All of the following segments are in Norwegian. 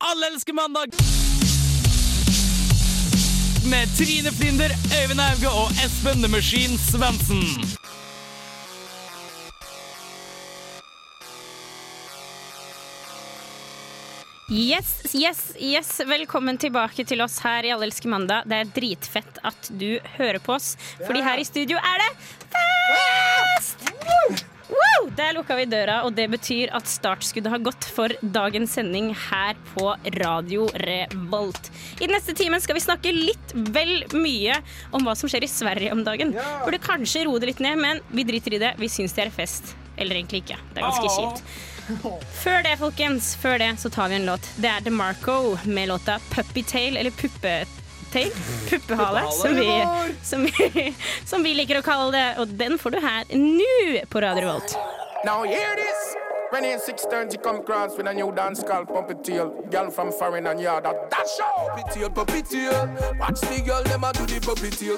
Alle elsker mandag! Med Trine Flinder, Øyvind Auge og Espen The Machine Svendsen. Yes, yes, yes. Velkommen tilbake til oss her i Allelske mandag. Det er dritfett at du hører på oss, fordi her i studio er det fest! Wow! Der lukka vi døra, og det betyr at startskuddet har gått for dagens sending her på Radio Revolt. I den neste timen skal vi snakke litt vel mye om hva som skjer i Sverige om dagen. Burde kanskje roe det litt ned, men vi driter i det. Vi syns det er fest. Eller egentlig ikke. Det er ganske kjipt. Før det, folkens, før det så tar vi en låt. Det er DeMarco med låta Puppytail, eller Puppetail. Puppehale, som vi, som, vi, som vi liker å kalle det. Og den får du her nå på Radio Revolt. Now hear this. When it's 6:30, come cross with a new dance called Pump It Tail. Girl from foreign and yard that dash show. Pump It Tail, Pump It Tail. Watch the girl, them a do the Pump It Tail.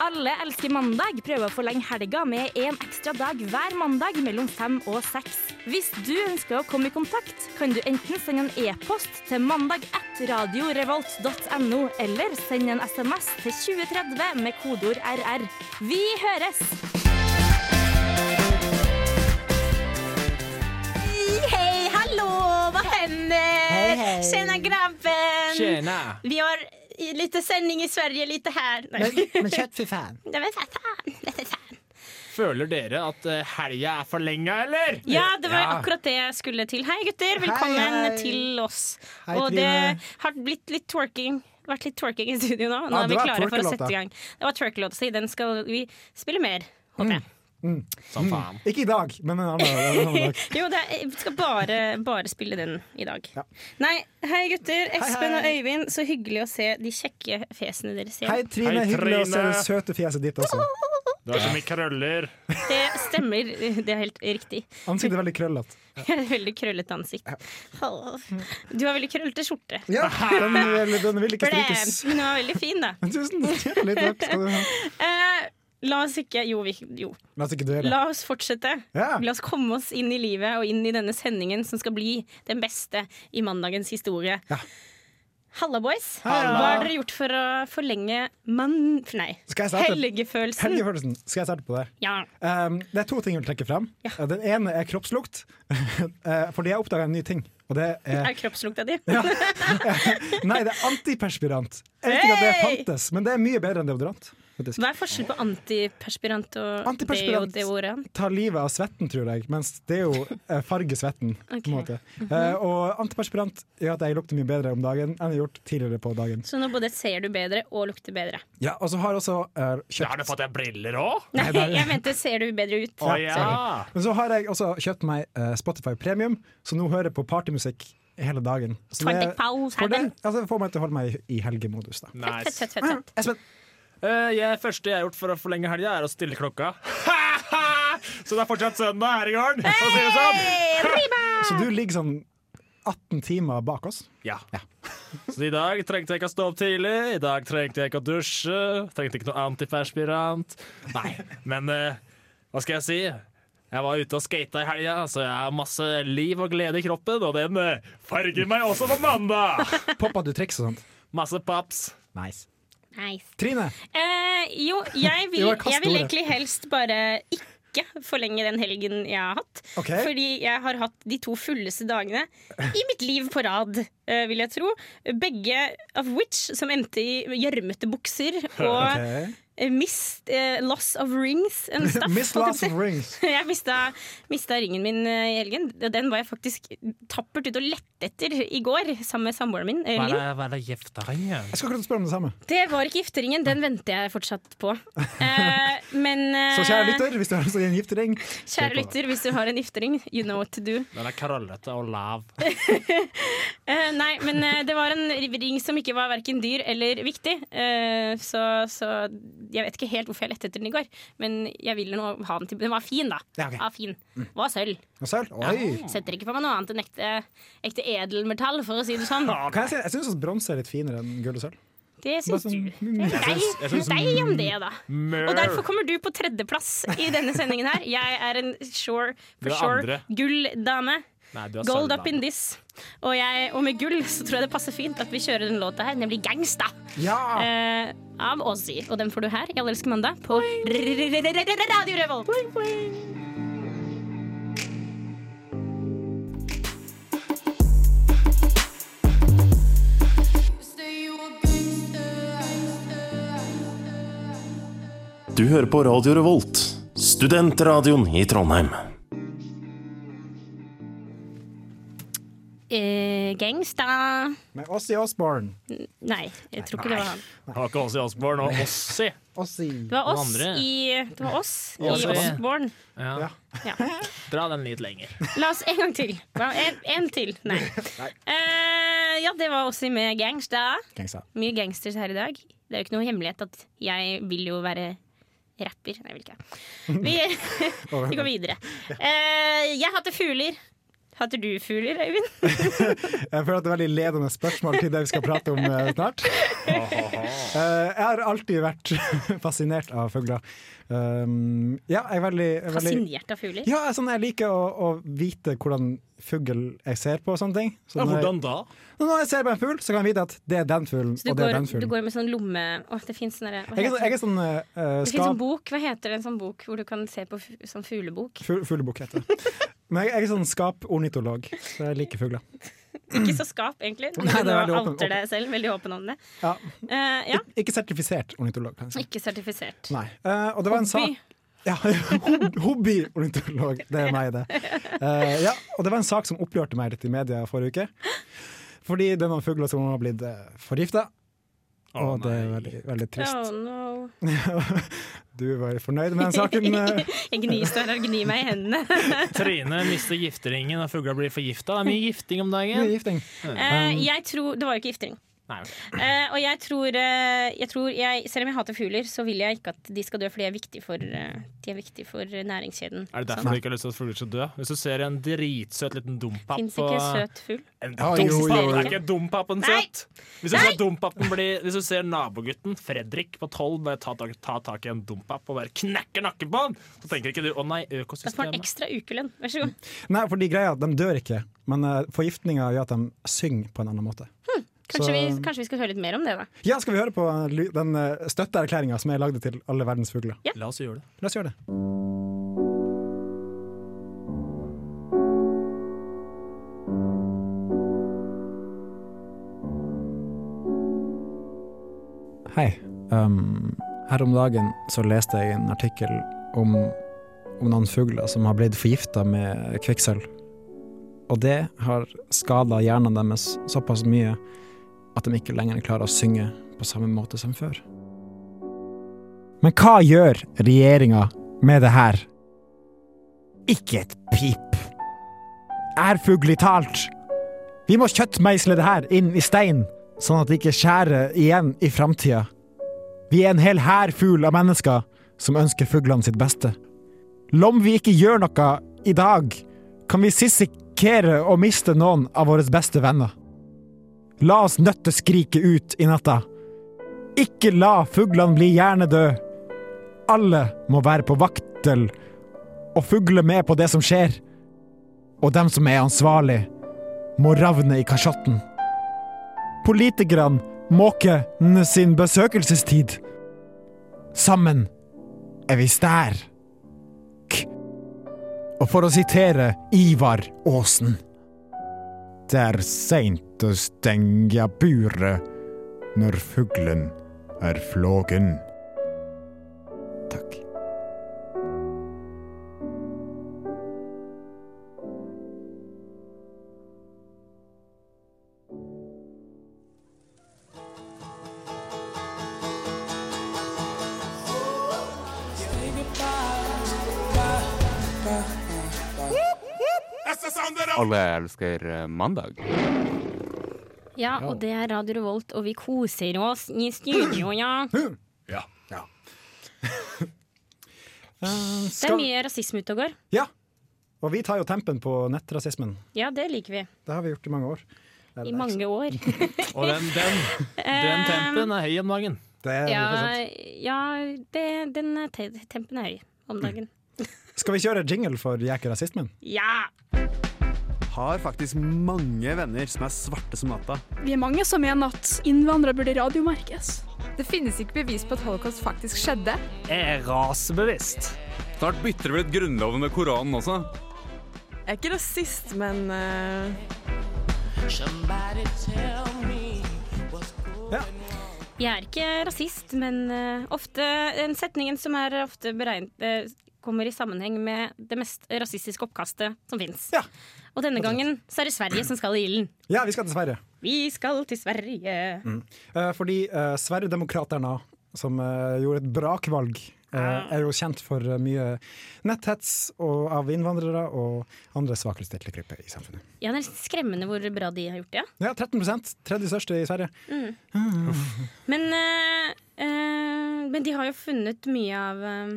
Alle elsker mandag. Prøver å forlenge helga med en ekstra dag hver mandag mellom fem og seks. Hvis du ønsker å komme i kontakt, kan du enten sende en e-post til mandag1radiorevolt.no, eller sende en SMS til 2030 med kodeord RR. Vi høres! Hei, hallo, hva hender? Hei, hei. Tjena, grabben! Tjena! Vi har lite sending i Sverige, lite her. Nei. Men, men kjøtt, for faen. Nei, men fa- faen. Nei, fa- faen. Føler dere at eh, helga er forlenga, eller? Ja, det var Ja. akkurat det jeg skulle til. Hei, gutter. Velkommen Hei, hei. til oss. Hei, Og det Trine. har blitt litt twerking. Det har vært litt twerking i studio nå. Nå Ja, er det vi var klare for å twerkelåta. sette i gang. Det var twerkelåta si. Den skal vi spille mer, håper jeg. Som Mm. faen. Ikke i dag, men en annen, en annen dag. Jo, det er, vi skal bare, bare spille den i dag. Ja. Nei, hei, gutter. Espen og hei. Øyvind, så hyggelig å se de kjekke fjesene deres igjen. Hei, Trine. Hei, Hyggelig å se Trine. det søte fjeset ditt også. Du har så mye krøller. Det stemmer. Det er helt riktig. Ansiktet er veldig krøllete. Jeg har et veldig krøllete ansikt. Åh. Du har veldig krøllete skjorte. Ja, den, vil- den vil ikke Blæm! strykes. Men den var veldig fin, da. Tusen hjertelig takk skal du ha. Eh, la oss ikke Jo, vi, jo. La oss ikke dvele. La oss fortsette. Ja. La oss komme oss inn i livet og inn i denne sendingen som skal bli den beste i mandagens historie. Ja. Halla, boys. Halla. Hva har dere gjort for å forlenge mann... Nei, Skal jeg starte? helgefølelsen. Helge Følelsen, skal jeg starte på det? her? Ja. Um, det er to ting jeg vil trekke fram. Ja. Den ene er kroppslukt. Eh, Fordi jeg oppdaga en ny ting. Og det er Er kroppslukta di? Nei, det er antiperspirant. Jeg vet ikke at det Hey! fantes, men det er mye bedre enn deodorant. faktisk. Hva er forskjellen på antiperspirant og Antiperspirant. deo- deodorant? tar livet av svetten, tror jeg, mens det er jo eh, farger svetten. Ok. Mhm. På en måte. Eh, og antiperspirant gjør at jeg lukter mye bedre om dagen enn jeg har gjort tidligere på dagen. Så nå både ser du bedre og lukter bedre. Ja, Og så har jeg også eh, Ja, Har du kjøpt fått deg briller òg? Nei, det er- jeg mente ser du bedre ut. Å ja! Men så har jeg også kjøpt meg eh, Spotify Premium, så nå hører jeg på partymusikk hele dagen. Så det, 24 for det, altså, det får meg til å holde meg i helgemodus, da. Fett, fett, Nice. fett, fett, fett. Espen, Eh, jeg, første jeg har gjort for å forlenge helga, er å stille klokka. så det er fortsatt søndag her i gården, for å si det sånn. så du ligger sånn 18 timer bak oss? Ja. Så i dag trengte jeg ikke å stå opp tidlig, i dag trengte jeg ikke å dusje, trengte ikke noe antiperspirant. Nei, men eh, hva skal jeg si? Jeg var ute og skata i helga, så jeg har masse liv og glede i kroppen, og den eh, farger meg også på mandag! Poppa du triks og sånt? Masse paps. Nice. Nice. Trine, Eh, jo, jeg vil, Det var kastordet. jeg vil egentlig helst bare ikke forlenge den helgen jeg har hatt. Ok. Fordi jeg har hatt de to fulleste dagene i mitt liv på rad, eh, vil jeg tro. Begge of which som endte i gjørmete bukser og Ok. eh, mist, eh, loss of rings and stuff. Miss holdt jeg på å si. Loss of Rings. Jeg mista, mista ringen min eh, i helgen. Den var jeg faktisk tappert ute og lette etter i går sammen med samboeren min. eh, Linn. hva er det gjefteringen? Jeg skal akkurat spørre om det samme. Det var ikke gifteringen. Den venter jeg fortsatt på. Eh, men eh, Så kjære lytter, hvis du har en giftering kjære lytter, hvis du har en giftering, you know what to do. Den er krøllete og lav. Eh, nei, men eh, det var en ring som ikke var verken dyr eller viktig. Eh, så, så jeg vet ikke helt hvorfor jeg lette etter den i går, men jeg ville nå ha den til Den var fin, da. Ja, ok. Var fin. Var sølv. Og sølv? Oi! Setter ikke på meg noe annet enn ekte, ekte edelmetall, for å si det sånn. Kan jeg si, jeg syns bronse er litt finere enn gull og sølv. Det syns du. Bare sånn- mm. Det er Jeg Deg, syns- deg om det, da. Mør. Og derfor kommer du på tredjeplass i denne sendingen her. Jeg er en sure, Du for er sure, andre. gull-dame. Nei, du er Gold sølv, up da. in this. Og, jeg, og med gull så tror jeg det passer fint at vi kjører den låta her, nemlig Gangsta. Mm, Ja! Eh, av Ozzy. Og den får du her i Alle elsker mandag på Radio Revolt. Du hører på Radio Revolt, studentradioen i Trondheim. Eh, gangsta Med Ossie Osborne. Nei, jeg tror ikke det var han. Har ikke Åsi Osborne og Åssi. Ossie. Det var Den oss andre. i, det var oss i Ozzy. Osborne. Ja. Ja. Dra den litt lenger. La oss en gang til. Hva, En, en til. Nei. Eh, ja, det var Ozzy med gangsta. Gangsta. Mye gangsters her i dag. Det er jo ikke noe hemmelighet at jeg vil jo være rapper. Nei, jeg vil ikke. Vi, vi går videre. Eh, jeg hater fugler. Hater du fugler, Øyvind? Jeg føler at det er veldig ledende spørsmål til det vi skal prate om eh, snart. Eh, jeg har alltid vært fascinert av fugler. Um, ja, jeg er veldig, jeg er veldig Fascinert av fugler. ja, jeg, er sånn, jeg liker å, å vite hvordan fugl jeg ser på og sånne ting. Så når jeg- da? Når jeg ser på en fugl, så kan jeg vite at det er den fuglen, Så du og det er går, den du fuglen. går med sånn lomme... Å, det fins sånn derre- hva Jeg er, heter sånn- jeg det? er sånn uh, Det finnes en skap... bok. Hva heter det, en sånn bok hvor du kan se på fu- sånn fuglebok? Fugl- Fuglebukk heter det. Men jeg, jeg er sånn skapornitolog, så jeg liker fugler. Ikke så skap, egentlig. Når Nei, du det er nå veldig åpen- outer deg selv. Veldig åpen om det. Ja. Eh, ja. Ik ikke sertifisert ornitolog, kan jeg si. Ikke sertifisert. Nei. Eh, og det var en sak By. Ja, hob- Hobbyornitolog, det er meg, det. Eh, ja, og det var en sak som opprørte meg litt i media forrige uke. Fordi det er noen fugler som har blitt forgifta, og det er veldig, veldig Oh, trist. no. Du var fornøyd med den saken? eh? Jeg gnir, står her og gnir meg i hendene. Trine mister gifteringen og fugla blir forgifta. Det er mye gifting om Mye dagen. gifting. Eh, jeg tror, det var jo ikke giftering. Nei, ok. Eh, og jeg tror, eh, jeg tror jeg, Selv om jeg hater fugler, så vil jeg ikke at de skal dø, for de er viktige for, eh, de er viktige for næringskjeden. Er det derfor du ikke har lyst til at fugler skal dø? Hvis du ser en dritsøt liten dompap Fins på- ikke søt fugl? En Ja, jo, dompap? jo, jo. Er ikke dompapen Nei! søt? Hvis du, ser dompapen bli, hvis du ser nabogutten Fredrik på tolv bare ta, tak- ta tak i en dompap og bare knekke nakken på han, så tenker ikke du 'å nei, Da får han økosystemet'. ekstra ukelønn. Vær så god. Nei, for de greia, de dør ikke, men uh, forgiftninga gjør at de synger på en annen måte. Kanskje, Så- vi, kanskje vi skal høre litt mer om det, da. Ja, skal vi høre på eh, ly- den uh, støtteerklæringa som er lagd til alle verdens fugler? La oss gjøre det. La oss gjøre det. Hei. Um, her om dagen så leste jeg en artikkel om, om noen fugler som har blitt forgifta med kvikksølv. Og det har skada hjernen deres såpass mye at de ikke lenger klarer å synge på samme måte som før. Men hva gjør regjeringa med det her? Ikke et pip. Ærfuglig talt. Vi må kjøttmeisle det her inn i stein, sånn at det ikke skjærer igjen i framtida. Vi er en hel hær full av mennesker som ønsker fuglene sitt beste. Om vi ikke gjør noe i dag, kan vi sissikere å miste noen av våre beste venner. La oss nøtteskrike ut i natta. Ikke la fuglene bli hjernedøde. Alle må være på vaktel og fugle med på det som skjer. Og dem som er ansvarlig, må ravne i kasjotten. Politikerne måker sin besøkelsestid. Sammen er vi sterk. Og for å sitere Ivar Aasen Det er seint å stenge buret når fuglen er flågen. Takk. Alle elsker eh, mandag. Ja, og det er Radio Revolt, og vi koser oss i studio, ja. Det er mye rasisme ute og går. Ja. Og vi tar jo tempen på nettrasismen. Ja, det liker vi. Det har vi gjort i mange år. Nei, i det er ikke mange år. Og den, den, den tempen er høy om dagen. sant. Det er Ja, sant. ja det, den er te tempen er høy om dagen. Skal vi kjøre jingle for Jæk og rasismen? Ja! Har faktisk mange venner som er svarte som natta. Vi er mange som mener at innvandrere burde radiomerkes. Det finnes ikke bevis på at holocaust faktisk skjedde. er rasebevisst. Snart bytter det vel ut Grunnloven med Koranen også. Jeg er ikke rasist, men Jeg er ikke rasist, men eh, ofte den setningen som er ofte beregnet eh, kommer i sammenheng med det mest rasistiske oppkastet som fins. Ja. Og denne gangen så er det Sverige som skal i ilden. Ja, vi skal til Sverige. Vi skal til Sverige. Eh, fordi uh, Sverigedemokraterna, som eh, gjorde et brakvalg, eh, er jo kjent for eh, mye netthets og, av innvandrere og andre svakerestilte grupper i samfunnet. Ja, det er nesten skremmende hvor bra de har gjort det. Ja. Ja, 13 tredje største i Sverige. Men, eh, eh, men de har jo funnet mye av eh,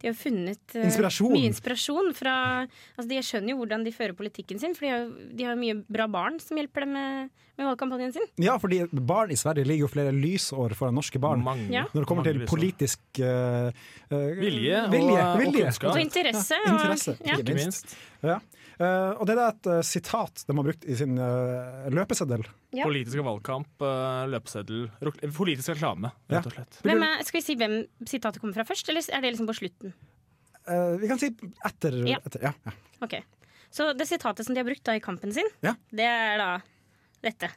De har funnet eh, Inspirasjon. mye inspirasjon fra altså De skjønner jo hvordan de fører politikken sin, for de har, de har mye bra barn som hjelper dem med, med valgkampanjen sin. Ja, fordi barn i Sverige ligger jo flere lysår foran norske barn. Mange, Ja. Når det kommer til mange lyser. politisk eh, eh, Vilje og- og kunnskap. Og interesse. Ja, interesse, og, ja. ikke Ikke minst. Ja. Eh, og det er et eh, sitat de har brukt i sin eh, løpeseddel. Ja. Politisk valgkamp, eh, løpeseddel rok- eh, Politisk reklame, rett og slett. Hvem er, skal vi si hvem sitatet kommer fra først, eller er det liksom på slutten? Eh, vi kan si etter. Ja. etter ja, ja. Ok, Så det sitatet som de har brukt da i kampen sin, Ja. det er da dette.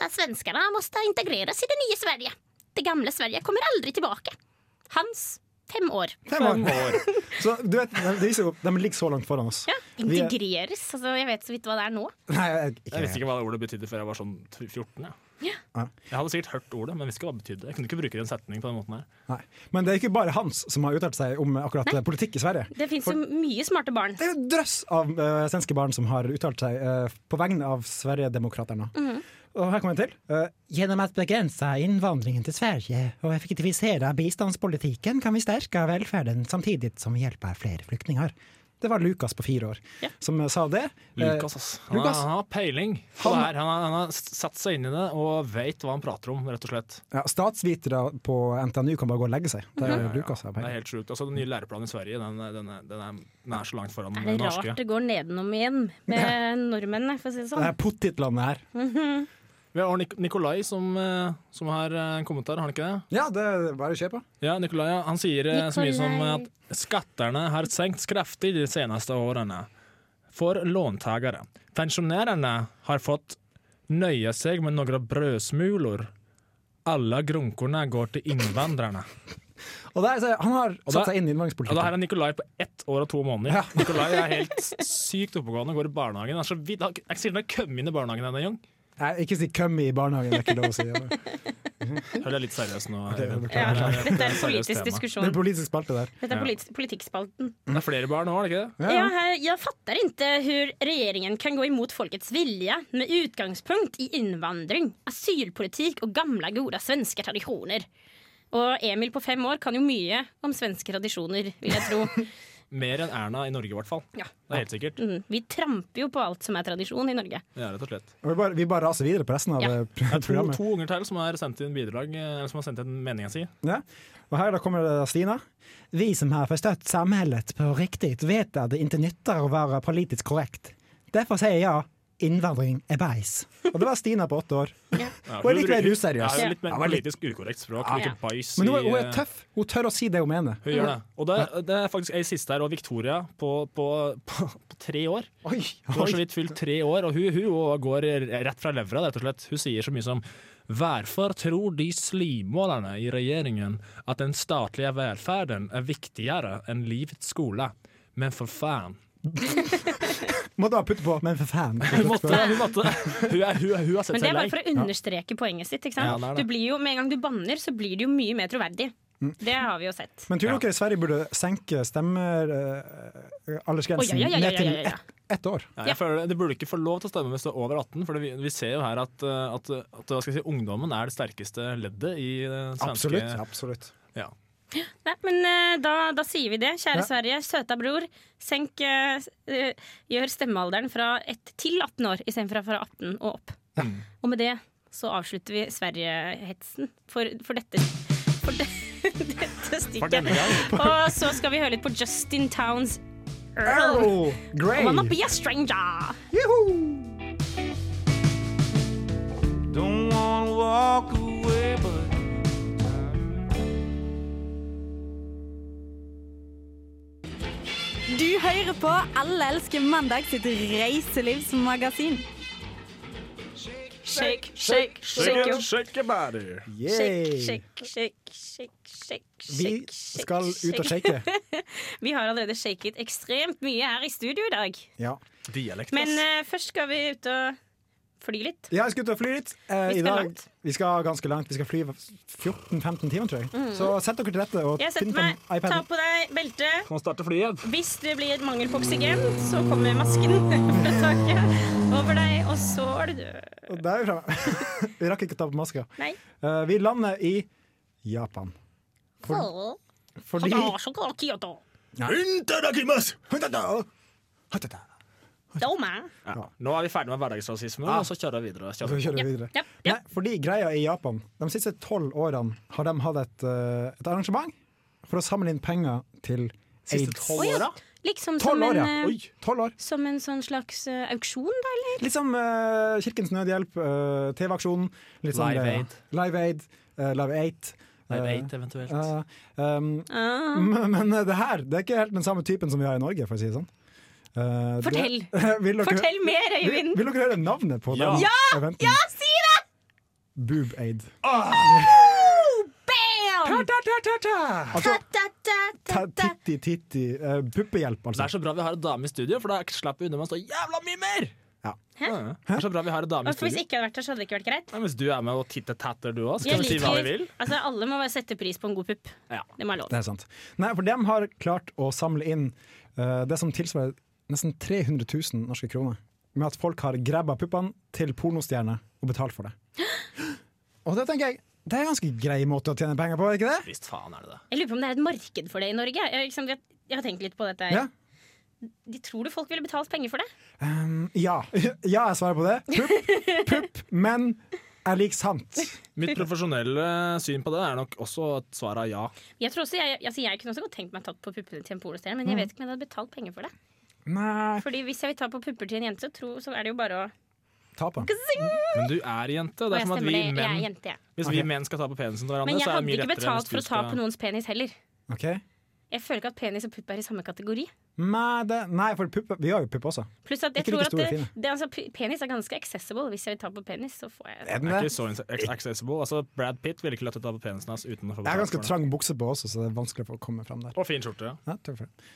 "Eh, Svenskene måtte integreres i det nye Sverige. Det gamle Sverige kommer aldri tilbake. Hans fem år. Fem år. Så du vet, de, de, viser jo- de ligger så langt foran oss. Ja, Vi er- integreres. Altså, jeg vet så vidt hva det er nå. Nei, jeg, Jeg ikke, visste ikke hva det ordet betydde før jeg var sånn 14. Ja. Jeg, jeg hadde sikkert hørt ordet, men visste ikke hva det betydde. Jeg kunne ikke bruke en setning på den måten her. Nei. Men det er ikke bare Hans som har uttalt seg om akkurat eh, politikk i Sverige. Det fins jo mye smarte barn. Det er jo drøss av eh, svenske barn som har uttalt seg eh, på vegne av Sverigedemokraterna. Mhm. Og her kommer en til. Eh, Gjennom å begrense innvandringen til Sverige og effektivisere bistandspolitikken kan vi styrke velferden samtidig som vi hjelper flere flyktninger. Det var Lukas på fire år Ja. som eh, sa det. Eh, Lukas, altså. ass. Han, Lukas. har- han har peiling på Han- det her. Han, har- han har s- satt seg inn i det og veit hva han prater om, rett og slett. ja, statsvitere på NTNU kan bare gå og legge seg. Det Mhm. er Lukas her. Det er helt sjukt. Altså, den nye læreplanen i Sverige, den, er- den, er- den, er, den er så langt foran Er den det norske. rart det går nedenom igjen med nordmennene, for å si det Det sånn? er pottitlandet her. Mhm. Vi har Nik Nikolai som, eh, som har eh, en kommentar, har han ikke det? Ja, det er bare å se på. Ja, Nikolai, ja. han sier eh, så mye som Nikolai. at skatterna har sänkts kraftigt de senaste åren för låntagare. Pensionärerna har fått nöja sig med några brödsmulor. Alla grunkorna går till invandrarna. Og der, så, han har Og satt der- seg inn Ja, det her i innvandringspolitikken. er Nikolai på ett år og to måneder. Nikolai er helt sykt oppegående, går i barnehagen. Han er så vidt, han, jeg sier han har kommet inn i barnehagen denne gang. Nei, Ikke si køm i barnehagen, det er ikke lov å si. Det Hører jeg litt seriøs nå. Eivind. Ja, Det er- dette det er et er en seriøst politisk tema. er diskusjon. en politisk spalte der. Dette er Ja. politi- politikkspalten. Det er flere barn nå, er det ikke det? Ja, her, jeg fatter ikke hur regjeringen kan gå imot folkets vilja med utgangspunkt i innvandring, asylpolitikk og gamle, gode svenske tradisjoner. Og Emil på fem år kan jo mye om svenske tradisjoner, vil jeg tro. Mer enn Erna i Norge, i hvert fall. Ja. Det er helt sikkert. Mm, vi tramper jo på alt som er tradisjon i Norge. Ja, rett og slett. Og Vi bare, vi bare raser videre på resten av Ja. eh, pro- Det er to, programmet. to unger til som har sendt inn bidrag, eh, eller som har sendt inn meninga si. Ja. Og her da kommer det Stina. Vi som har forstått samhället på riktig, vet at det ikke nytter å være politisk korrekt. Derfor sier jeg innvandring er beis. Og det var Stina på åtte år. Ja, Hun er litt mer bruker- useriøs. Ja, litt mer Ja, hun er litt- politisk ukorrekt språk. Ja. Ikke bæsj Men hun, er- hun i, er eh, tøff. Hun tør å si det hun mener. Hun gjør det. Og det, det er faktisk ei siste her, og Victoria på, på, på, på tre år. Oi, Hun har så vidt fylt tre år, og hun, hun også går rett fra levra, rett og slett. Hun sier så mye som Hvorfor tror de slimålerne i regjeringen at den statlige velferden er viktigere enn livets skole? Men for faen. Måtte ha putt på, men for faen. Hun måtte, hun, måtte, hun, er, hun, er- hun har sett Men det seg er lei. bare for å understreke poenget sitt. ikke sant? Ja, det er det. Du blir jo, Med en gang du banner, så blir det jo mye mer troverdig. Mm. Det har vi jo sett. Men tror dere Sverige burde senke stemmealdersgrensen Oi, ja, ja, ja, ja, ned til ja, ja. ett ett år? Ja, jeg føler det, det burde ikke få lov til å stemme hvis du er over 18, for det, vi, vi ser jo her at, eh, at, at hva skal jeg si, ungdommen er det sterkeste leddet i det svenske Absolutt. absolutt. Ja. Nei, men eh, da, da sier vi det. Kjære Ja. Sverige, søta bror. Senk eh, s- eh, Gjør stemmealderen fra 1 til 18 år istedenfor fra 18 og opp. Og med det så avslutter vi Sverigehetsen for, for dette. For det, dette stykket. denne gang. Og så skal vi høre litt på Justin Towns Earl. Earl Grey. Wanna be a stranger. Don't wanna walk away, but Du hører på Alle elsker mandag sitt reiselivsmagasin. Shake, shake, shake your shake your body. Shake, shake, shake, shake, shake, Vi shake, shake, skal ut og shake. vi har allerede shaket ekstremt mye her i studio i dag. Ja. Dialekt, Men eh, først skal vi ut og fly litt. Ja, jeg skal ut og fly litt. Eh, Vi i skal dag, langt. Vi skal ganske langt. Vi skal fly 14-15 timer, tror jeg. Mm. Så sett dere til rette og Jeg finn setter fram meg. Ta iPaden. på deg beltet. Kan starte flyet. Hvis det blir mangel på oksygen, så kommer masken fra taket over deg, og så er du død. Og Der er vi fremme. vi rakk ikke å ta på maska. Nei. Eh, vi lander i Japan. For- fordi Ja. Ah. Nå er vi ferdig med hverdagsrasisme, og så kjører vi videre. Og så kjører vi videre. Nei, fordi greia i Japan De siste tolv årene har de hatt et, eh, et arrangement for å samle inn penger til Siste aids. Å ja, Liksom som, Tolv år, ja. en, eh, Oi, tolv år. som en sånn slags eh, auksjon, da, eller? Litt som eh, Kirkens Nødhjelp, eh, TV-aksjonen. Litt sånn Live greier. Aid. Live Aid. eh, Live Aid. Live eh, Aid, eventuelt. eh, um, Ah. men, men eh, det her det er ikke helt den samme typen som vi har i Norge, for å si det sånn. Eh, det- Fortell. Vil dere- Fortell mer, Vil, Øyvind. vil dere høre navnet på Ja. den Ja! eventen? Ja, si det! Boob Aid. Bam! Altså, ta- titti, titti. eh, puppehjelp, Det altså. er så bra vi har en dame i studio, for da slipper vi unna med å stå jævla mye mer! Hæ? Ja, ja. Det er så bra vi har en dame i Og Hvis studio. jeg ikke hadde vært der, så hadde det ikke vært greit. Nei, hvis du er med og titter tatter, du òg, skal Jeg vi si hva liker- vi vil? Altså, alle må bare sette pris på en god pupp. Det må jeg Det lov. er sant. Nei, for de har klart å samle inn eh, det som tilsvarer nesten 300 000 norske kroner. Med at folk har grabba puppene til pornostjerner og betalt for det. Og det tenker jeg, det er en ganske grei måte å tjene penger på, er ikke det? Visst faen er det det. Jeg lurer på om det er et marked for det i Norge. Jeg, liksom, jeg, jeg har tenkt litt på dette. her. Ja. De tror du folk ville betalt penger for det? Um, ja. ja, jeg svarer på det. Pupp, pupp men jeg liker sant. Mitt profesjonelle syn på det er nok også at svaret er ja. Jeg, tror også, jeg, altså, jeg kunne også godt tenkt meg tatt på puppene til en pornostjerne, men jeg Mm. vet ikke om jeg hadde betalt penger for det. Nei, Fordi hvis jeg vil ta på pupper til en jente, så, tror, så er det jo bare å ta på. Men du er jente. Det Og er jeg som at stemmer vi det, jeg er menn jente, jeg. Hvis vi menn skal ta på penisen til hverandre, Men jeg så er det hadde mye ikke lettere. enn betalt hvis for du å ta skal- på noens penis heller. Ok. Jeg føler ikke at penis og pupp er i samme kategori. Nei, det, nei for pupp, vi har jo pupp også. Pluss at jeg Ikke tror like at store og det, fine. det, altså, p- penis er ganske accessible. Hvis jeg vil ta på penis, så får jeg Er den Det er det? ikke så ins- accessible. Altså, Brad Pitt ville ikke latt deg ta på penisen hans uten å få Jeg har betalt ganske for det. trang bukse på også, så det er vanskelig for å komme fram der. Og fin skjorte. ja. Ja, takk for det.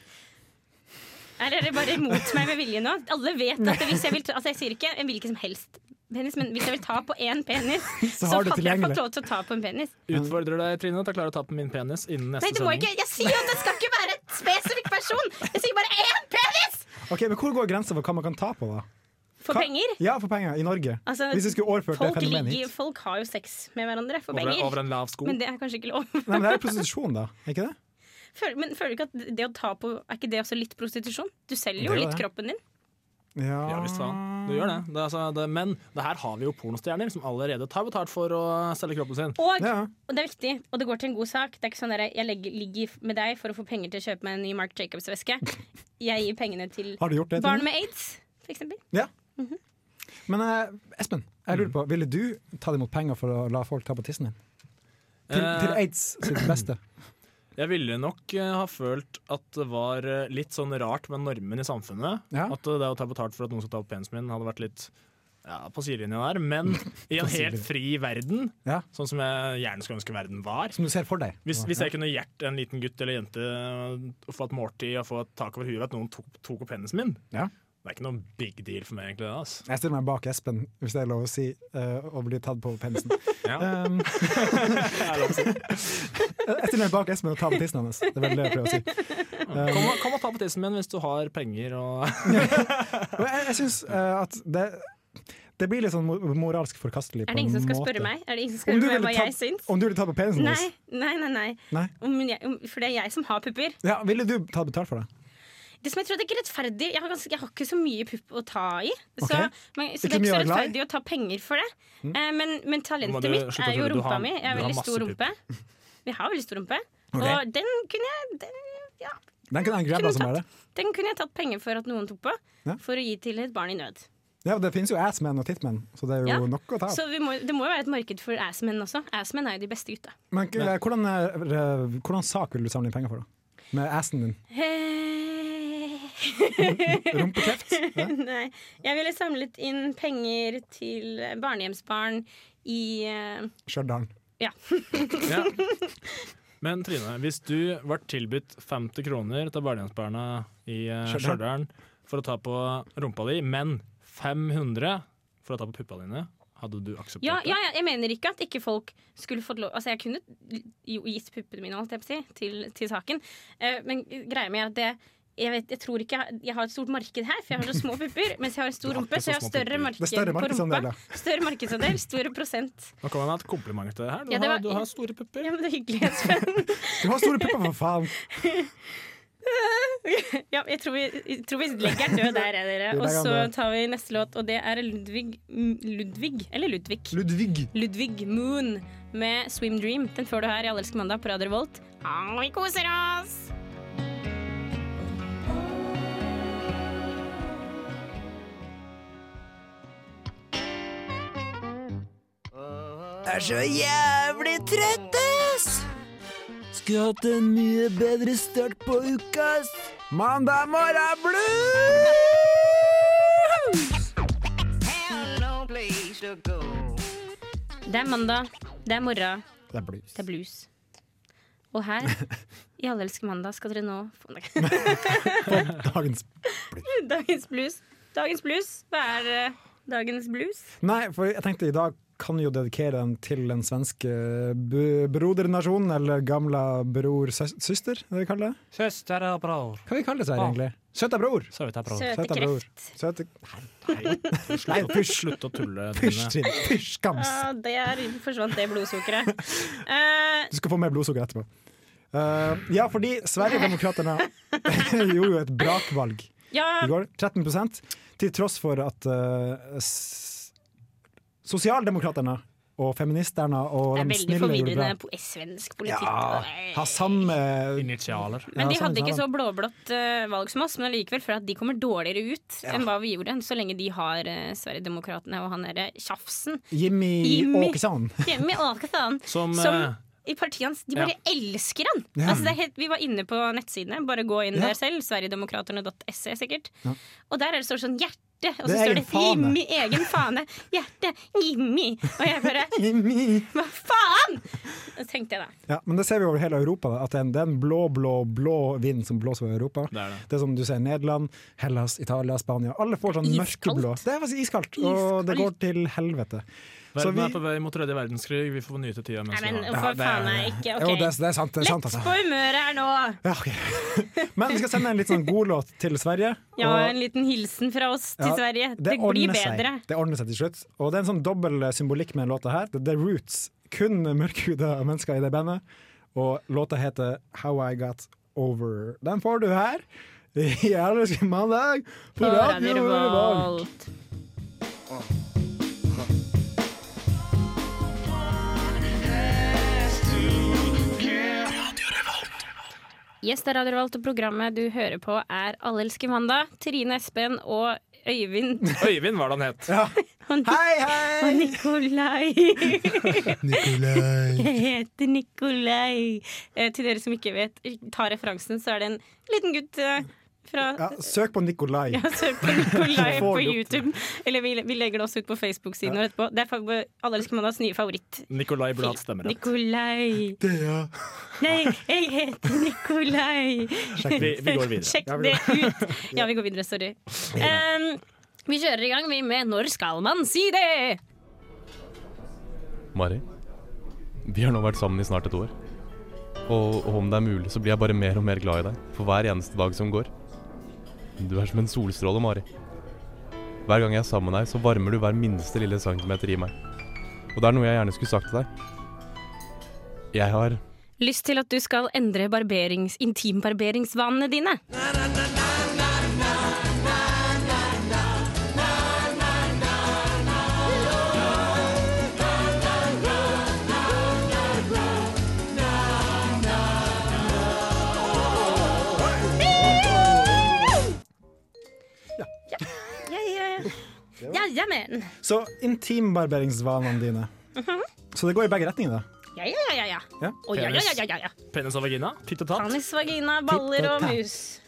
Er dere bare imot meg med vilje nå? Alle vet at hvis jeg vil ta, Altså jeg sier ikke en hvilken som helst penis, men hvis jeg vil ta på én penis, Så så, har du hadde jeg tilgjengelig. fått lov til å ta på en penis. Utfordrer deg, Trine, til å klare å ta på min penis innen neste Nei, det må sending. ikke Jeg sier jo at det skal ikke være et spesifikk person! Jeg sier bare én penis! Ok, men Hvor går grensa for hva man kan ta på, da? For Hva- penger? Ja, for penger, i Norge. Altså, Hvis vi skulle overført det Folk, fenomenet ligger, hit. folk har jo sex med hverandre for Over- penger. over en lav sko. Men det er kanskje ikke lov. Nei, men Det er jo prostitusjon, da. er ikke det? Føler, men føler du ikke at det å ta på Er ikke det også litt prostitusjon? Du selger jo Det er jo litt det. kroppen din. Ja, Ja visst faen. Du gjør det. det, er altså, det men det her har vi jo pornostjerner som allerede tar betalt for å selge kroppen sin. Og, og det er viktig, og det går til en god sak. Det er ikke sånn der, Jeg legger, ligger med deg for å få penger til å kjøpe meg en ny Mark Jacobs-veske. Jeg gir pengene til Har du gjort det, barn Mhm. Trine? med aids, f.eks. Ja. Men eh, Espen, jeg lurer Mm. på, ville du tatt imot penger for å la folk ta på tissen din? Til, Eh. til aids sitt beste. Jeg ville nok eh, ha følt at det var eh, litt sånn rart med normen i samfunnet. At eh, det å ta betalt for at noen skal ta opp penisen min, hadde vært litt ja, på sidelinja der. Men i På en helt sidelinja. fri verden, Ja. sånn som jeg gjerne skulle ønske verden var Som du ser for deg. Hvis, hvis jeg Ja. kunne hjerte en liten gutt eller jente eh, og få et måltid og få et tak over huet ved at noen tok, tok opp penisen min, Ja. det er ikke noen big deal for meg, egentlig. det, Altså. Jeg stiller meg bak Espen, hvis det er lov å si, eh, og blir tatt på penisen. Ja. Um, jeg stiller meg bak Espen og tar på tissen hans. Det er vel det jeg prøver å si. Kom, og- kom og ta på tissen min hvis du har penger og Og jeg, jeg syns eh, at det Det blir litt sånn mo- moralsk forkastelig. Er på det ingen en som skal måte. spørre meg? Er det ingen som Om skal du spørre meg ville hva ta- jeg syns? Om du ville ta betalt for Nei, det? nei, nei. nei. Nei. Om jeg, om, for det er jeg som har pupper. Ja, ville du ta betalt for det? Det som Jeg tror det er ikke rettferdig Jeg har, ganske, jeg har ikke så mye pupp å ta i. Så, Ok. men, så Ikke det er ikke så mye å være glad i? rettferdig å ta penger for det. Mm. Eh, men, men Nå må talentet du mitt slutte å er jo tulle. Du rumpa har- mi. Jeg har du har veldig stor masse rumpe. Vi har veldig stor rumpe. Ok. Og den kunne jeg den, ja, Den kunne han grabba Kunne som bare det. den kunne jeg tatt penger for at noen tok på, Ja. for å gi til et barn i nød. Ja, det finnes jo assmen og titmen, så det er jo Ja. nok å ta av. Så vi må, det må jo være et marked for assmen også. Assmen er jo de beste gutta. Men eh, hvordan, er, eh, hvordan sak vil du samle inn penger for, da? Med assen din? Rumpekreft? Nei. Jeg ville samlet inn penger til barnehjemsbarn i eh, Stjørdal. Ja. Ja. Men Trine, hvis du ble tilbudt 50 kroner til barnehjemsbarna i eh, Stjørdal. Stjørdal for å ta på rumpa di, men 500 for å ta på puppa dine, hadde du akseptert Ja, ja, ja, jeg mener ikke at ikke folk skulle fått lov Altså, jeg kunne jo gitt puppene mine, holdt jeg på å si, til, til saken, Eh, men greia med at det jeg, vet, jeg tror ikke jeg, jeg har et stort marked her, for jeg har så små pupper. Mens jeg har en stor rumpe, ikke så så jeg har små større pupper. marked Det er større på markedsandel, rumpa. ja. Større markedsandel, større prosent. Nå kommer jeg med et kompliment til deg her. Du, Ja, det var- har, du har store pupper. Ja, men det er hyggelig, Espen. Du har store pupper, for faen! ja, jeg tror, vi, jeg tror vi legger den død der, jeg, dere. Vi Og legger den så død. tar vi neste låt, og det er Ludvig M- Ludvig, eller Ludvig. Ludvig. Ludvig Moon med 'Swim Dream'. Den får du her i Allelske mandag på Radio Revolt. Ah, vi koser oss! er så jævlig trøtt, ass! Skulle hatt en mye bedre start på uka, ass. Mandag morgen blues! Det er mandag, det er morgen, Det er blues. det er blues. Og her i Allelske mandag skal dere nå få Dagens Dagens blues. Dagens blues. Hva er eh, dagens blues? Nei, for jeg tenkte i dag kan vi jo dedikere den til den svenske b- brodernasjonen, eller gamle bror-søster, det vi kaller det. Søster og bror. Hva vi kaller det her, Barn. egentlig? Søta bror! Søta bror. Søte Søte... Slutt, å- pysj. slutt å tulle, Pysj, Trine. Trine. Pysj, skams. Ah, der forsvant det blodsukkeret. Eh, Du skal få mer blodsukker etterpå. Eh, ja, fordi Sverigedemokraterna gjorde jo et brakvalg Ja. i går. 13 til tross for at eh, s- Sosialdemokraterna og feministerne og det er de veldig snille gjorde forvirrende bra. po eh, svensk politikk. Ja, har samme Initialer. Men de hadde ikke så blå-blått eh, valg som oss, men likevel for at de kommer dårligere ut Ja. enn hva vi gjorde, så lenge de har eh, Sverigedemokraterna og han derre Tjafsen. Jimmy, Jimmy. Åkesson. Jimmy Åkesson. Som, eh, i partiet hans, De bare elsker han! Ja. Altså, det er helt, vi var inne på nettsidene, bare gå inn Ja. der selv. Sverigedemokraterna.se, sikkert. Ja. Og der er det står sånn hjerte, og Det så er står egen det fane. Jimmy, egen fane. Hjerte, Jimmy. Og jeg bare Jimmy. Hva faen?! Så tenkte jeg da. Ja, men det ser vi over hele Europa, da, at det er en- det er en blå, blå, blå vind som blåser over Europa. Det er, som du ser Nederland, Hellas, Italia, Spania. Alle får sånn mørkeblå. Det er faktisk iskaldt, og det går til helvete. Så Verden vi er på vei mot tredje verdenskrig. Vi får nyte tida mens Nei, men Altså, vi for har faen meg ikke OK. Jo, det er- det er sant, det er sant, Lett altså. på humøret her nå. Ja, ok. Men vi skal sende en litt sånn god låt til Sverige. Ja, og- en liten hilsen fra oss til Ja, Sverige. Det, ordner blir seg. bedre. Det ordner seg til slutt. Og det er en sånn dobbel symbolikk med den låta her. Det er The Roots. Kun mørkhuda mennesker i det bandet. Og låta heter How I Got Over. Den får du her. I Allerske mandag på Radio Revolt. Yes, det er Radio Revolt, og programmet du hører på er Allelske mandag. Trine Espen og Øyvind Øyvind var det han het. og, hei, hei! og Nikolai. Jeg heter Nikolai. Eh, til dere som ikke vet, tar referansen, så er det en liten gutt eh, fra Ja, søk på Nikolai. Ja, søk på Nikolai Så får på du opp YouTube. Eller vi, vi legger det også ut på Facebook-siden vår etterpå. Det er fa- Alle elsker mandags nye favoritt. Nikolai burde hatt stemmerett. Nikolai. Nei, jeg heter Nikolai. Sjekk ut. Vi- vi går videre. Sjekk Ja, vi det går- ut. Ja, vi går videre. Sorry. Um, vi kjører i gang vi med 'Når skal man si det?' Mari, vi har nå vært sammen i snart et år. Og, og om det er mulig, så blir jeg bare mer og mer glad i deg for hver eneste dag som går. Du er som en solstråle, Mari. Hver gang jeg er sammen med deg, så varmer du hver minste lille centimeter i meg. Og det er noe jeg gjerne skulle sagt til deg. Jeg har Lyst til at du skal endre barberings, intimbarberingsvanene dine. Ja, ja, ja. Ja, ja, men. Så intimbarberingsvanene dine. Mhm. Så det går i begge retninger, da. Ja, ja, ja, ja, ja. Ja. Å, ja, ja, ja, ja, ja. Penis og vagina? Titt og tatt? Penis, vagina, baller og Titt og tatt. mus.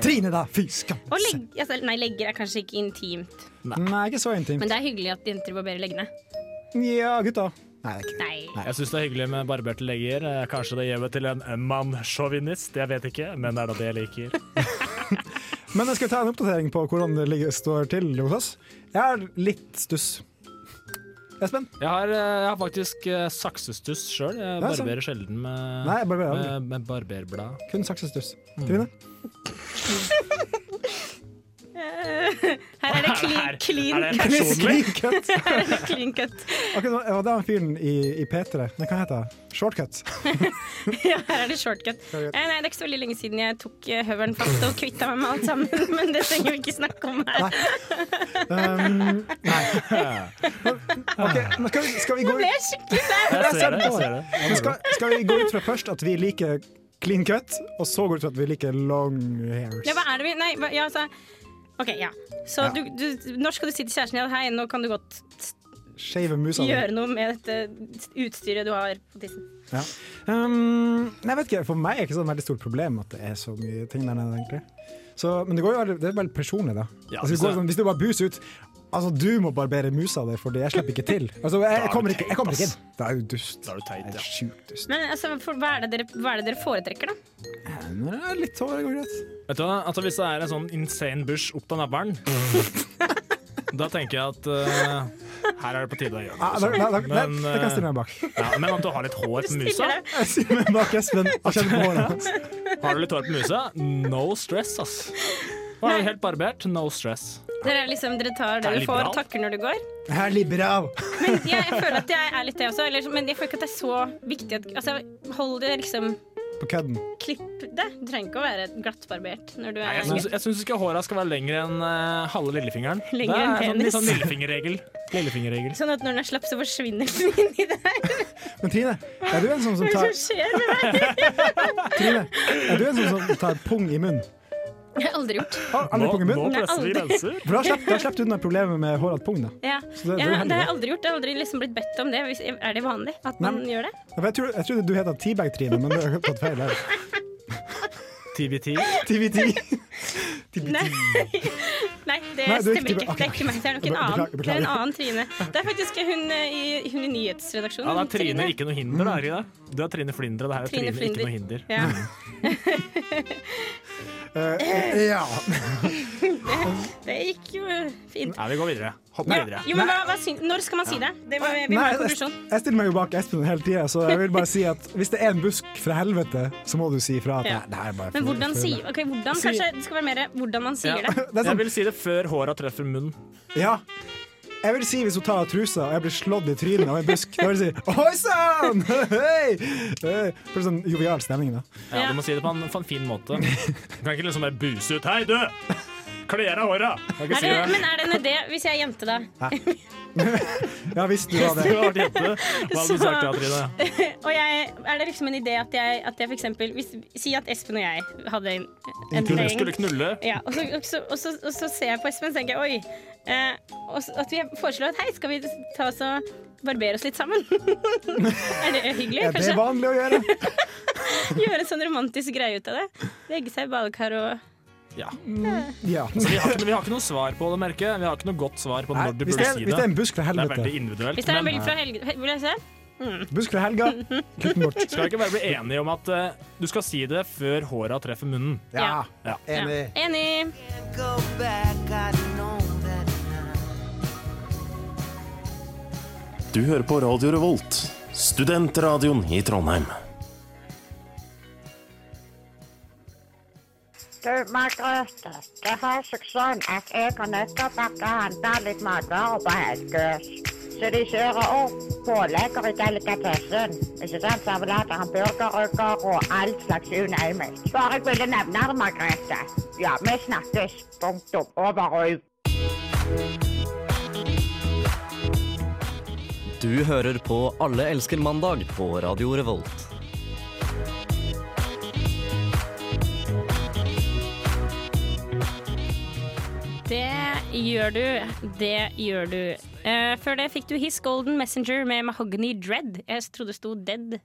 Trine, da! Fy skam! Og legg, altså, nei, legger er kanskje ikke intimt, Nei. ikke så intimt. men det er hyggelig at jenter barberer leggene. Ja, gutta. Nei, Nei. Jeg syns det er hyggelig med barberte legger. Eh, Kanskje det gjør meg til en mannssjåvinist, jeg vet ikke, men det er da det jeg liker. Men jeg skal ta en oppdatering på hvordan det ligger, står til hos oss. Jeg har litt stuss. Espen? Jeg har, eh, jeg har faktisk eh, saksestuss sjøl. Jeg Ja, sant. barberer sjelden med, Nei, jeg barberer aldri. med, med barberblad. Kun saksestuss. Trine? Her er det Er clean, det- clean er det cut. personlig? Her er det clean cut. Ok, nå- det var den fyren i, i P3. Nei, hva heter det? Shortcut. Ja, her er det shortcut. Eh, Nei, det er ikke så veldig lenge siden jeg tok eh, høvelen fast og kvitta meg med alt sammen, men det trenger vi ikke snakke om her. Um, nei. Ok, nå skal vi, skal vi gå Nå ut ble jeg skikkelig Jeg ser det, jeg ser flau. det. Men skal, skal vi gå ut fra først at vi liker clean cut, og så går det ut fra at vi liker long hairs? Ja, hva er det vi Nei, hva, ja, altså OK, ja. Så Ja. Du, du, når skal du si til kjæresten din at hei, nå kan du godt Skeive musa di. gjøre noe med dette utstyret du har på tissen? Ja. Um, nei, jeg vet ikke, for meg er det ikke sånn veldig stort problem at det er så mye ting der nede, egentlig. Så, men det, går jo, veldig- det er veldig personlig, da. Ja, altså, hvis hvis, går, det- sånn, hvis du bare buser ut Altså, du må barbere musa di, fordi jeg slipper ikke til. Altså, jeg, jeg, kommer, ikke, jeg kommer ikke inn. Da er du dust. Da er du teit, ja. Sjukt dust. Men altså, for, hva, er det dere, hva er det dere foretrekker, da? Nei, Litt hår det går greit. Vet du hva, altså Hvis det er en sånn insane bush opp av navlen, da tenker jeg at eh, her er det på tide å gjøre Ah, da, da, da, da, da kan jeg stille meg bak. eh, ja, men at du har litt hår på musa Jeg stiller meg bak Espen. Hva skjedde på håret hans? Har du litt hår på musa? No stress, ass. Og er du helt barbert? No stress. Dere, er liksom, dere tar Det det er du får, liberalt. og takker når du går? Jeg er liberal. Men jeg, jeg føler at jeg er litt det også, eller, så- men jeg føler ikke at det er så viktig at altså, Hold det liksom På kødden. Klipp det. Du trenger ikke å være glattbarbert når du Nei, er jeg syns- jeg syns ikke håra skal være lengre enn eh, halve lillefingeren. Lengre det enn er sånn, penis. sånn lillefingerregel. Lillefingerregel. Sånn at når den er slapp, så forsvinner den inn i deg. Men Trine, er du en sånn Hva som er tar det som skjer med meg? Trine, er du en sånn som tar pung i munnen? Jeg har aldri gjort. Har du Aldri pung i munnen? Nei, aldri. For da slipper- da slipper du unna problemet med håret pung, da. Ja. Så det- det er ja, jo heldig, det har jeg det. aldri gjort. Jeg har aldri liksom blitt bedt om det. Hvis- Er det vanlig at Nei. man gjør det? Ja, for Jeg, tror, jeg trodde du het Teabag-Trine, men det har jeg tatt feil. her. TBT. TBT. Nei, Nei det Nei, du er stemmer ikke ikke. tilbake. Det er ikke meg, det er nok en Beklager, annen. Det er en beklager. annen Trine. Det er faktisk hun, eh, i, hun i nyhetsredaksjonen. Ja, da er Trine ikke noe hinder, da. er det ikke det? Du er Trine Flindre, det her er Trine, ikke noe hinder. Ja. Eh, ja. Det gikk jo fint. Nei, vi går videre. Hopp Nei. videre. Jo, men hva, hva syn- Når skal man si det? Det må vi, vi må ha en jeg, konklusjon. jeg stiller meg jo bak Espen hele tida, så jeg vil bare si at hvis det er en busk fra helvete, så må du si fra at Ja. det her er bare Men hvordan sier ok, hvordan, Si- Kanskje det skal være mer hvordan man sier det. Jeg vil si det før håra treffer munnen. sånn- Ja. Jeg vil si hvis hun tar av trusa og jeg blir slått i trynet av en busk, da vil jeg si oi sann! Hei! Hei! For sånn jovial stemning, da. Ja, Du må si det på en, på en fin måte. Du kan ikke liksom bare buse ut 'hei, du! Kle av håra!' Du kan ikke Er si det, det. men er det en idé, hvis jeg er jente, da? Ja, hvis du Hvis du var det. hadde vært jente, hva hadde du sagt da, Trine? og jeg, er det liksom en idé at jeg, at jeg for eksempel hvis, Si at Espen og jeg hadde en, en Skulle- date. skulle knulle. Ja, og, så, og, så, og, så, og så ser jeg på Espen og tenker jeg, oi. Eh, og så, at vi foreslår at hei, skal vi ta oss og barbere oss litt sammen? er det hyggelig? Er det Kanskje vanlig å gjøre? gjøre en sånn romantisk greie ut av det? Legge seg i badekar og Ja. Ja. Så vi, har ikke, vi har ikke noe svar på det, merker jeg. Vi har ikke noe godt svar på når du hvis burde det er- si det. hvis det er en busk fra helvete. Det er veldig individuelt. Hvis det er en men- velg fra eh, helge... he- Vil jeg se? Mm. Busk fra helga, kutt den bort. Skal vi ikke bare bli enige om at eh, du skal si det før håra treffer munnen? Ja. Ja. Enig. Du hører på Radio Revolt, studentradioen i Trondheim. Du, Margrethe, det har seg sånn at jeg har nettopp vært og handla litt matvarer på Helgøs. Så de kjører opp pålegger i delikatessen. Ikke sant? Servelater, hamburgerrygger og all slags you name it. Bare jeg ville nevne det, Margrethe. Ja, vi snakkes. Punktum. Over og ut. Du hører på Alle elsker mandag på Radio Revolt. Det gjør du. Det gjør du. Eh, før det fikk du His Golden Messenger med Mahogany Dread. Jeg trodde det sto Dead.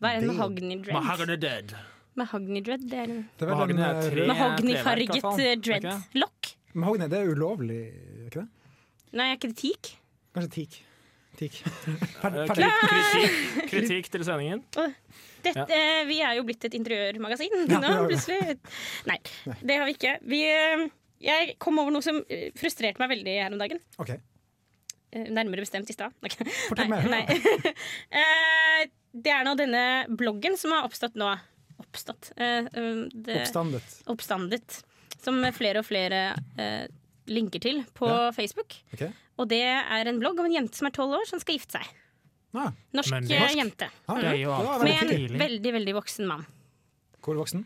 Hva er en Dead. Mahogany Dread? Mahogany Dead. Mahogany Dread, det er en Det er vel Mahogny en, er eh, tre- Mahognyfarget, treverk, i hvert fall. eh, dread. Er ikke det? Lokk? Mahogny, det er ulovlig, er ikke det? Nei, er ikke det teak? Kanskje teak. Teak. Eh, Ferdig. kri- Kritikk, kritikk til sendingen. Åh, Dette, eh, vi er jo blitt et interiørmagasin Ja, nå, ja, ja. plutselig. Nei, det har vi ikke. Vi, eh, jeg kom over noe som eh, frustrerte meg veldig her om dagen. Ok. Eh, Nærmere bestemt i stad. Nei, Fortell nei, mer. nei. Eh, Det er nå denne bloggen som har oppstått nå. Oppstått. Eh, um, det- Oppstandet. Oppstandet. Som flere og flere eh, linker til på Ja. Facebook. Ok. Og det er en blogg om en jente som er tolv år, som skal gifte seg. Ah. Norsk, Men- eh, Norsk? jente. Ah, det er jo Mm. altfor Med en tidlig. veldig, veldig voksen mann. Hvor voksen?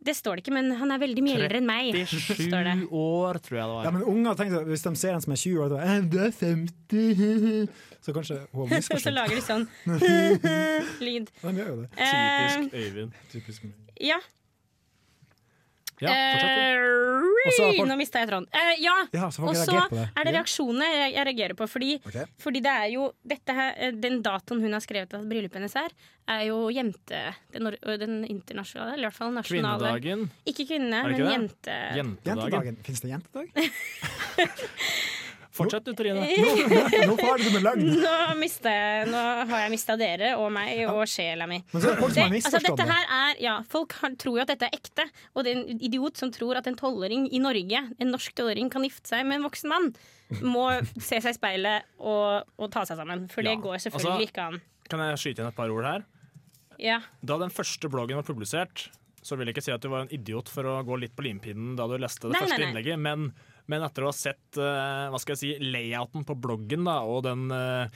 Det står det ikke, men han er veldig mye eldre enn meg. står det. år, tror jeg det Ja, men unger tenker, Hvis de ser en som er 20 år, da, «Eh, du er 50 Så kanskje hun har Så misforstått. lager de sånn lyd. De gjør jo det. Typisk Øyvind. Typisk meg. Ja. Ja, Eh, Og så har folk- Nå mista jeg tråden. Eh, ja, Ja, så folk og så reagerer på det. er det Ja. reaksjonene jeg, jeg reagerer på. Fordi, Ok. fordi det er jo dette her, eh, den datoen hun har skrevet at bryllupet hennes er, er jo jente... Den, nor- øh, den internasjonale, eller i hvert fall nasjonale Kvinnedagen. Ikke kvinne, Er det men ikke jente... det? Jentedagen. Fins det jentedag? Fortsett du, Trine. Nå farer du med løgn. Nå, mistet jeg, nå har jeg mista dere og meg og sjela mi. Men så er det folk som har Det- altså, misforstått dette det. her er, ja, folk har, tror jo at dette er ekte, og det er en idiot som tror at en tolvåring i Norge, en norsk tolvåring, kan gifte seg med en voksen mann, må se seg i speilet og, og ta seg sammen. For det Ja, går selvfølgelig altså- ikke an. Kan jeg skyte inn et par ord her? Ja. Da den første bloggen var publisert, så vil jeg ikke si at du var en idiot for å gå litt på limpinnen da du leste det Nei, første nei, nei. innlegget, men, men etter å ha sett eh, hva skal jeg si, layouten på bloggen da, og den eh,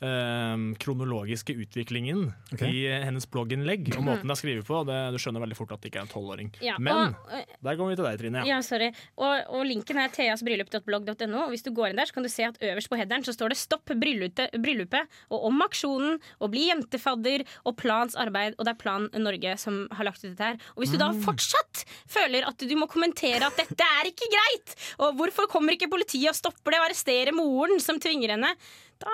eh, kronologiske utviklingen Ok. i eh, hennes blogginnlegg og Mm. måten det er skrevet på, det, du skjønner veldig fort at det ikke er en tolvåring. Ja, Men og- eh, der går vi til deg, Trine. Ja, sorry. Og, og linken er theasbryllup.blogg.no. og Hvis du går inn der, så kan du se at øverst på headeren så står det 'Stopp bryllupet', bryllupet og 'Om aksjonen', og 'Bli jentefadder' og 'Plans arbeid'. Og det er Plan Norge som har lagt ut dette her. Og hvis du da Mm. fortsatt føler at du må kommentere at dette er ikke greit, og hvorfor kommer ikke politiet og stopper det og arresterer moren som tvinger henne, da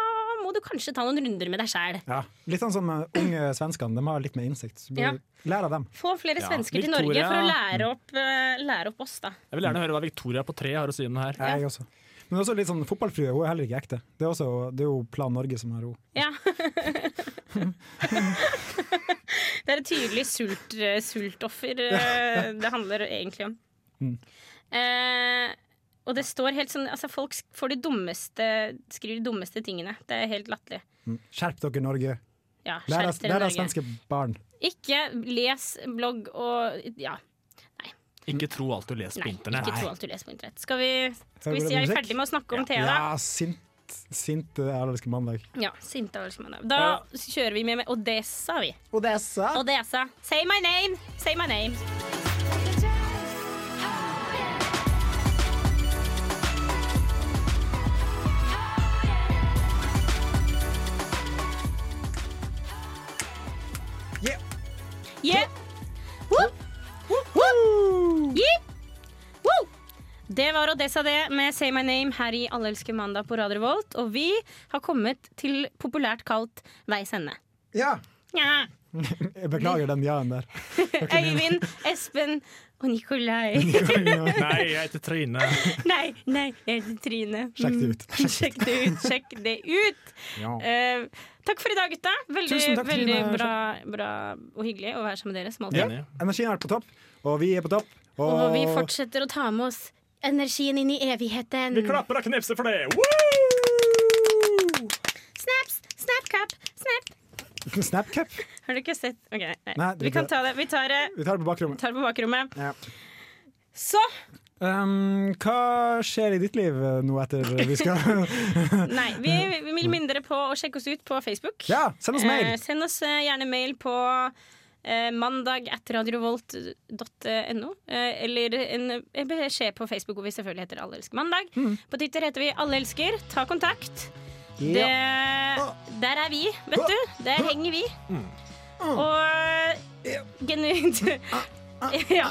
må du kanskje ta noen runder med deg sjæl. Ja. Litt sånn som eh, unge svenskene. De har litt mer innsikt. Så blir- Ja. Lær av dem. Få flere Ja, svensker til Norge Victoria- for å lære opp, eh, lære opp oss, da. Jeg vil gjerne høre hva Victoria på tre har å si om det her. Ja, Jeg også. Men også litt sånn fotballfrue. Hun er heller ikke ekte. Det er, også, det er jo Plan Norge som har henne. Ja. det er et tydelig sult, eh, sultoffer eh, det handler egentlig om. Mm. Eh, og det står helt sånn altså Folk sk- får de dummeste skriver de dummeste tingene. Det er helt latterlig. Mm. Skjerp dere, Norge. Ja, Lær av skjerp dere, lær av Norge. svenske barn. Ikke les blogg og Ja. Ikke tro alt du leser Nei, på internett. ikke tro alt du leser på internett. Skal vi, skal vi Hører si er vi musikk? ferdig med å snakke om Thea, da? Ja, sint, sint eh, Erlendske mandag. Ja, sinte avgjørelsesmandag. Da kjører vi med, med Odessa, vi. Odessa. Say my name, say my name. Yeah. Yeah. Woo. Woo. Yeah. Woo. Det var Odessa det med Say My Name her i Allelske mandag på Radio Revolt. Og vi har kommet til populært kalt Veis ende. Ja. Ja. Jeg beklager den ja-en der. Øyvind, Espen og Nikolai. Nei, jeg heter Trine. nei, nei, jeg heter Trine. Sjekk det ut. Mm, Sjekk det ut. Sjekk det ut. Ja. Eh, takk for i dag, gutta. Veldig, Tusen takk, veldig Trine. bra, bra og hyggelig å være sammen med dere. Som Ja. alltid. Energien er på topp, og vi er på topp. Og vi fortsetter å ta med oss energien inn i evigheten. Vi klapper og knipser for det! Woo! Snaps, snap, cap, snap. Snapcap. Har du ikke sett Ok, nei. Nei, det vi er kan ikke- ta det. Vi tar det, Vi tar det på bakrommet. tar det på bakrommet. Ja. Så Ehm, hva skjer i ditt liv eh, nå etter vi skal Nei, vi vi vil mindre på å sjekke oss ut på Facebook. Ja, send oss mail. Eh, send oss eh, gjerne mail på eh, mandag etter radiorevolt.no. Eh, eller en en beskjed på Facebook, hvor vi selvfølgelig heter Alle elsker mandag. Mm. På Twitter heter vi Alle elsker. Ta kontakt. Det, der er vi, vet du. Der henger vi. Og genuint Ja.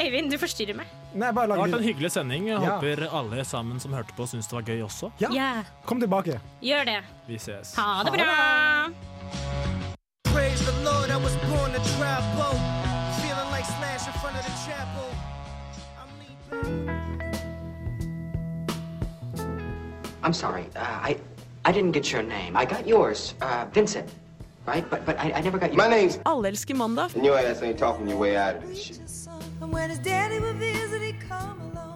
Øyvind, du forstyrrer meg. Nei, bare Det har vært en lyd. hyggelig sending. Jeg Ja. Håper alle sammen som hørte på, syns det var gøy også. Ja. Kom tilbake. Gjør det. Vi ses. Ha det bra. Praise the Lord, I was born to travel. Feeling like Slash in front of the chapel. I'm sorry. Uh, I I didn't get your name. I got yours, uh, Vincent, right? But but I, I never got your. My name's- Alle elsker mandag. And your ass ain't talking your way out of this shit. And when his daddy would visit, he'd come along.